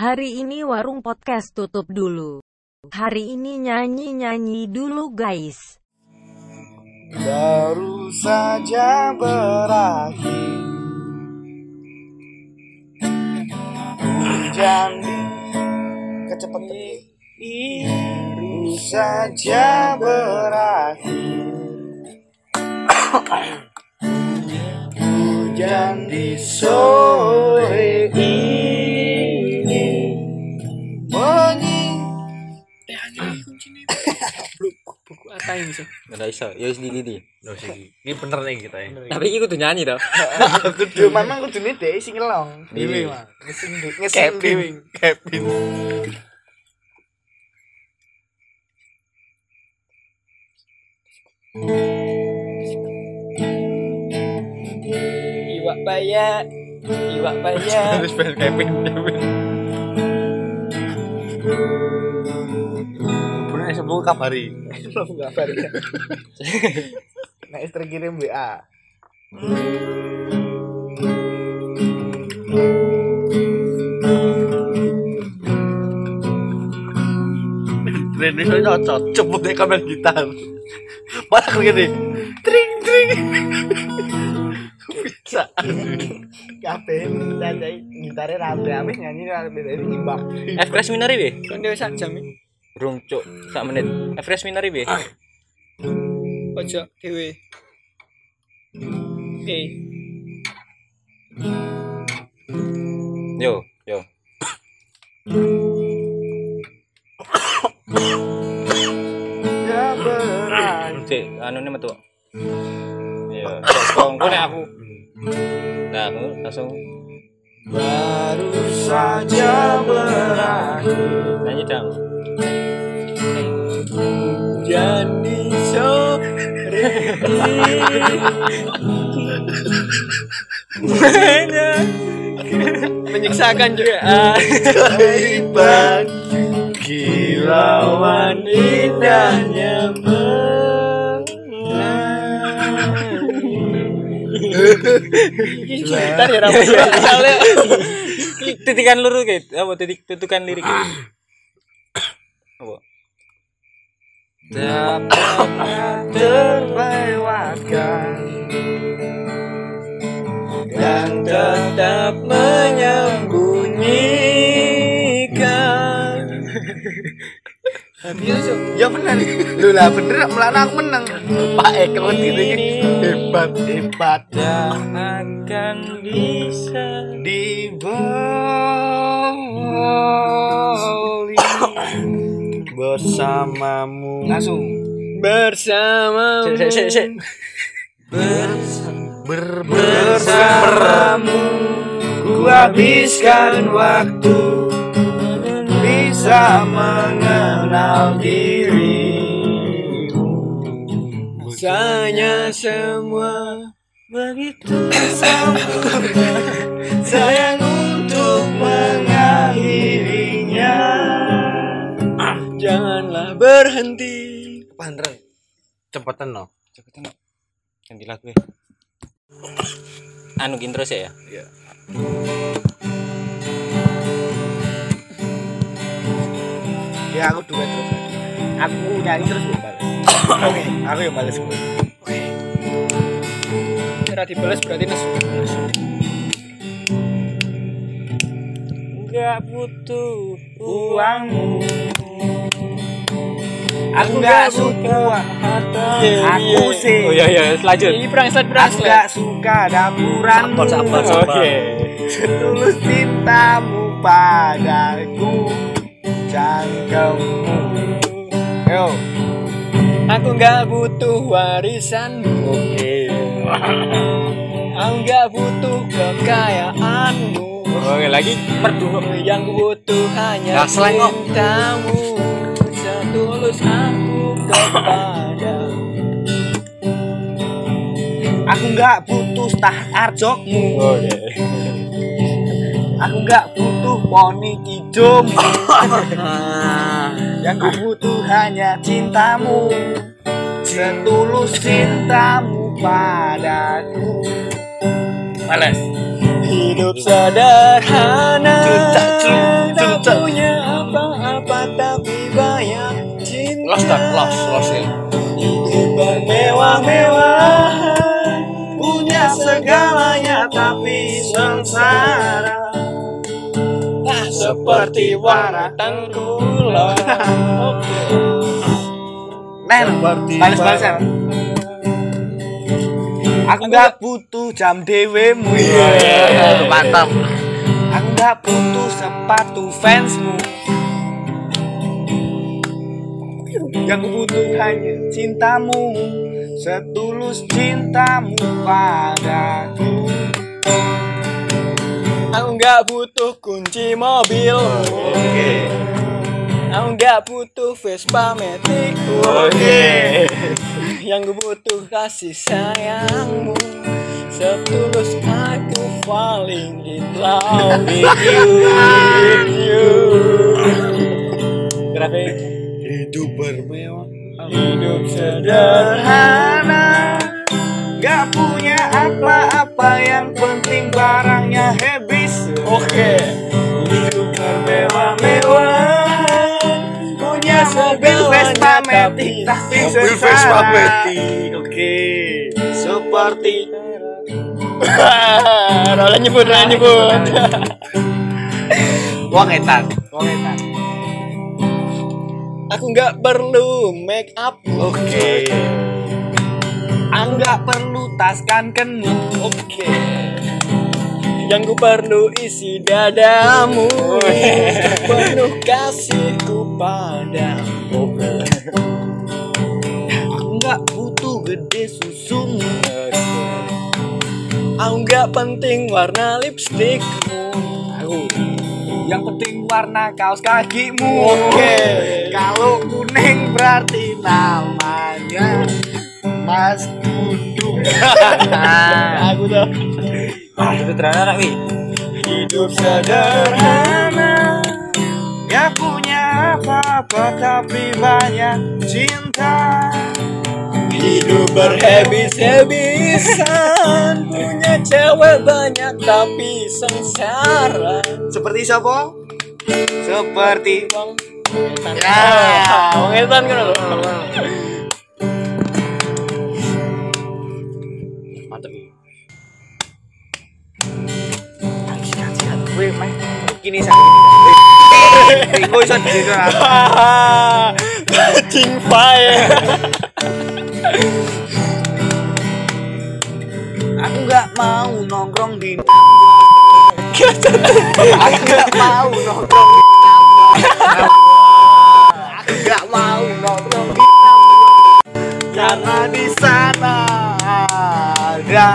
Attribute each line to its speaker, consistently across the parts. Speaker 1: Hari ini warung podcast tutup dulu. Hari ini nyanyi-nyanyi dulu guys.
Speaker 2: baru saja berakhir hujan kecepatan baru saja berakhir hujan di sore ini bunyi
Speaker 3: Kata ini sih.
Speaker 4: Nggak iso, ya wis gini di.
Speaker 5: Loh sih, ini bener nih kita ya.
Speaker 3: Tapi iki kudu nyanyi toh.
Speaker 2: Kudu mamang kudune dhek sing ngelong. Dhewe
Speaker 4: Dhewe.
Speaker 2: Mang. Ngesing dhewe, ngesing dhewe.
Speaker 3: Iwak bayak. Iwak bayak.
Speaker 5: Terus bel Kevin. Bener iso mung kabari.
Speaker 2: Belum kabar ya. Nek wis terkirim WA.
Speaker 5: Tren iso nyocot, cepet deh kamera gitar. Malah kayak gini. Tring tring. Bisa.
Speaker 2: Kabeh cacahe gitare rame-rame nyanyi rame dari imbang.
Speaker 3: Fresh minari be. Kene wis sak jam iki.
Speaker 4: Rung cuk, sak menit.
Speaker 3: Fresh minari be. Ojo dhewe. Oke.
Speaker 4: Yo, yo.
Speaker 2: Ya berat.
Speaker 4: Cek anune anu metu. Iya, kongko nek aku. Nah, aku langsung
Speaker 2: Baru saja berakhir
Speaker 4: nyanyi dang.
Speaker 2: jadi sore
Speaker 3: Menyiksakan juga.
Speaker 4: Ah.
Speaker 2: bang kilauan indahnya Iya,
Speaker 3: Iki gitar ya rapi. Soalnya
Speaker 4: Iya, Titikan luru ke, apa titik tutukan lirik. ke. Apa?
Speaker 2: terlewatkan dan tetap menyembunyikan Ya bener. Lho lah bener melana aku menang. Pak Eko gitu iki hebat hebat. Dan akan bisa dibeli bersamamu. Langsung
Speaker 3: bersama.
Speaker 4: Sik, sik, sik.
Speaker 5: Ber
Speaker 2: bersamamu ku habiskan waktu bisa mengenal dirimu
Speaker 3: Rasanya semua
Speaker 2: sayang untuk mengakhirinya
Speaker 3: janganlah berhenti.
Speaker 5: pandren. Cepetan no.
Speaker 4: Cepetan. Ganti lagu ya. Anu intro sik ya.
Speaker 5: Iya.
Speaker 2: ya aku duet terus aku nyanyi terus gue balas oke aku yang balas gue
Speaker 3: Cara dibalas berarti nesu.
Speaker 4: Enggak butuh
Speaker 2: uangmu aku gak suka aku sih
Speaker 4: Oh iya iya, lanjut.
Speaker 3: Ini perangkat
Speaker 2: aku
Speaker 3: perangkat.
Speaker 2: gak suka dapuranmu
Speaker 5: Sabar sabar sabar.
Speaker 2: Tulus cintamu padaku Cangkemmu Yo
Speaker 3: Aku nggak butuh warisanmu. Aku nggak butuh kekayaanmu.
Speaker 2: Oh.
Speaker 4: Oke, lagi merdu.
Speaker 3: Yang ku butuh hanya
Speaker 5: Nah, selain kok.
Speaker 3: cintamu. Setulus aku kepadamu.
Speaker 2: Aku nggak butuh tahar arjokmu
Speaker 4: Oke.
Speaker 2: Aku nggak butuh poni hijaumu Yang ku butuh hanya cintamu Setulus cintamu padaku
Speaker 3: Hidup sederhana
Speaker 5: Cuncak, cun-
Speaker 2: Tak
Speaker 5: cuncak.
Speaker 2: punya apa-apa tapi banyak cinta
Speaker 6: Los dan los, los ya.
Speaker 2: Hidupan mewah-mewahan Punya segalanya tapi sengsara
Speaker 5: Ah,
Speaker 2: Nah seperti warna tengkulak
Speaker 4: Nen, balas balasan. Aku nggak butuh jam dewemu.
Speaker 5: Iya, Mantap.
Speaker 4: Aku nggak butuh sepatu fansmu. Yang ku butuh hanya cintamu, setulus cintamu padaku.
Speaker 2: Aku nggak butuh kunci mobil Aku nggak butuh Vespa Matic Yang gue butuh kasih sayangmu Setulus aku falling in love with you With you Kenapa ya?
Speaker 5: Hidup bermewah.
Speaker 2: Hidup sederhana
Speaker 4: Gak punya apa-apa yang penting barangnya habis.
Speaker 2: Oke Hidup bermewah-mewah Punya
Speaker 4: mobil Vespa Matic tapi
Speaker 5: Mobil
Speaker 4: sengsara.
Speaker 5: Vespa Matic. Oke.
Speaker 2: Seperti Rola nyebut, Rola nyebut
Speaker 5: Wah ngetan.
Speaker 4: Oke, Tan.
Speaker 2: Aku nggak perlu make up
Speaker 5: Oke.
Speaker 4: Aku nggak perlu taskan kenut.
Speaker 2: Oke Yang ku perlu isi dadamu Penuh kasihku padamu
Speaker 4: Aku nggak butuh gede susumu.
Speaker 2: Aku nggak penting warna lipstikmu
Speaker 4: Aku. Yang penting warna kaos kakimu.
Speaker 2: Oke.
Speaker 4: Kalau kuning berarti namanya Mas Dudung.
Speaker 2: Aku tuh
Speaker 6: Itu ternyata nih.
Speaker 2: hidup sederhana
Speaker 4: Gak punya apa-apa tapi banyak cinta.
Speaker 2: Hidup berhabis-habisan Punya cewek banyak tapi sengsara
Speaker 4: Seperti siapa? Seperti
Speaker 2: Bang
Speaker 4: Ya.
Speaker 2: Bang Ethan kan lo
Speaker 4: Wih, mah gini saya. Ringo iso dijejer apa?
Speaker 3: Ah.
Speaker 2: Cing fire
Speaker 4: Aku nggak mau nongkrong di. Aku nggak mau nongkrong di. Aku nggak mau nongkrong di. Karena di sana ada.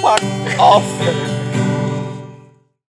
Speaker 5: Part of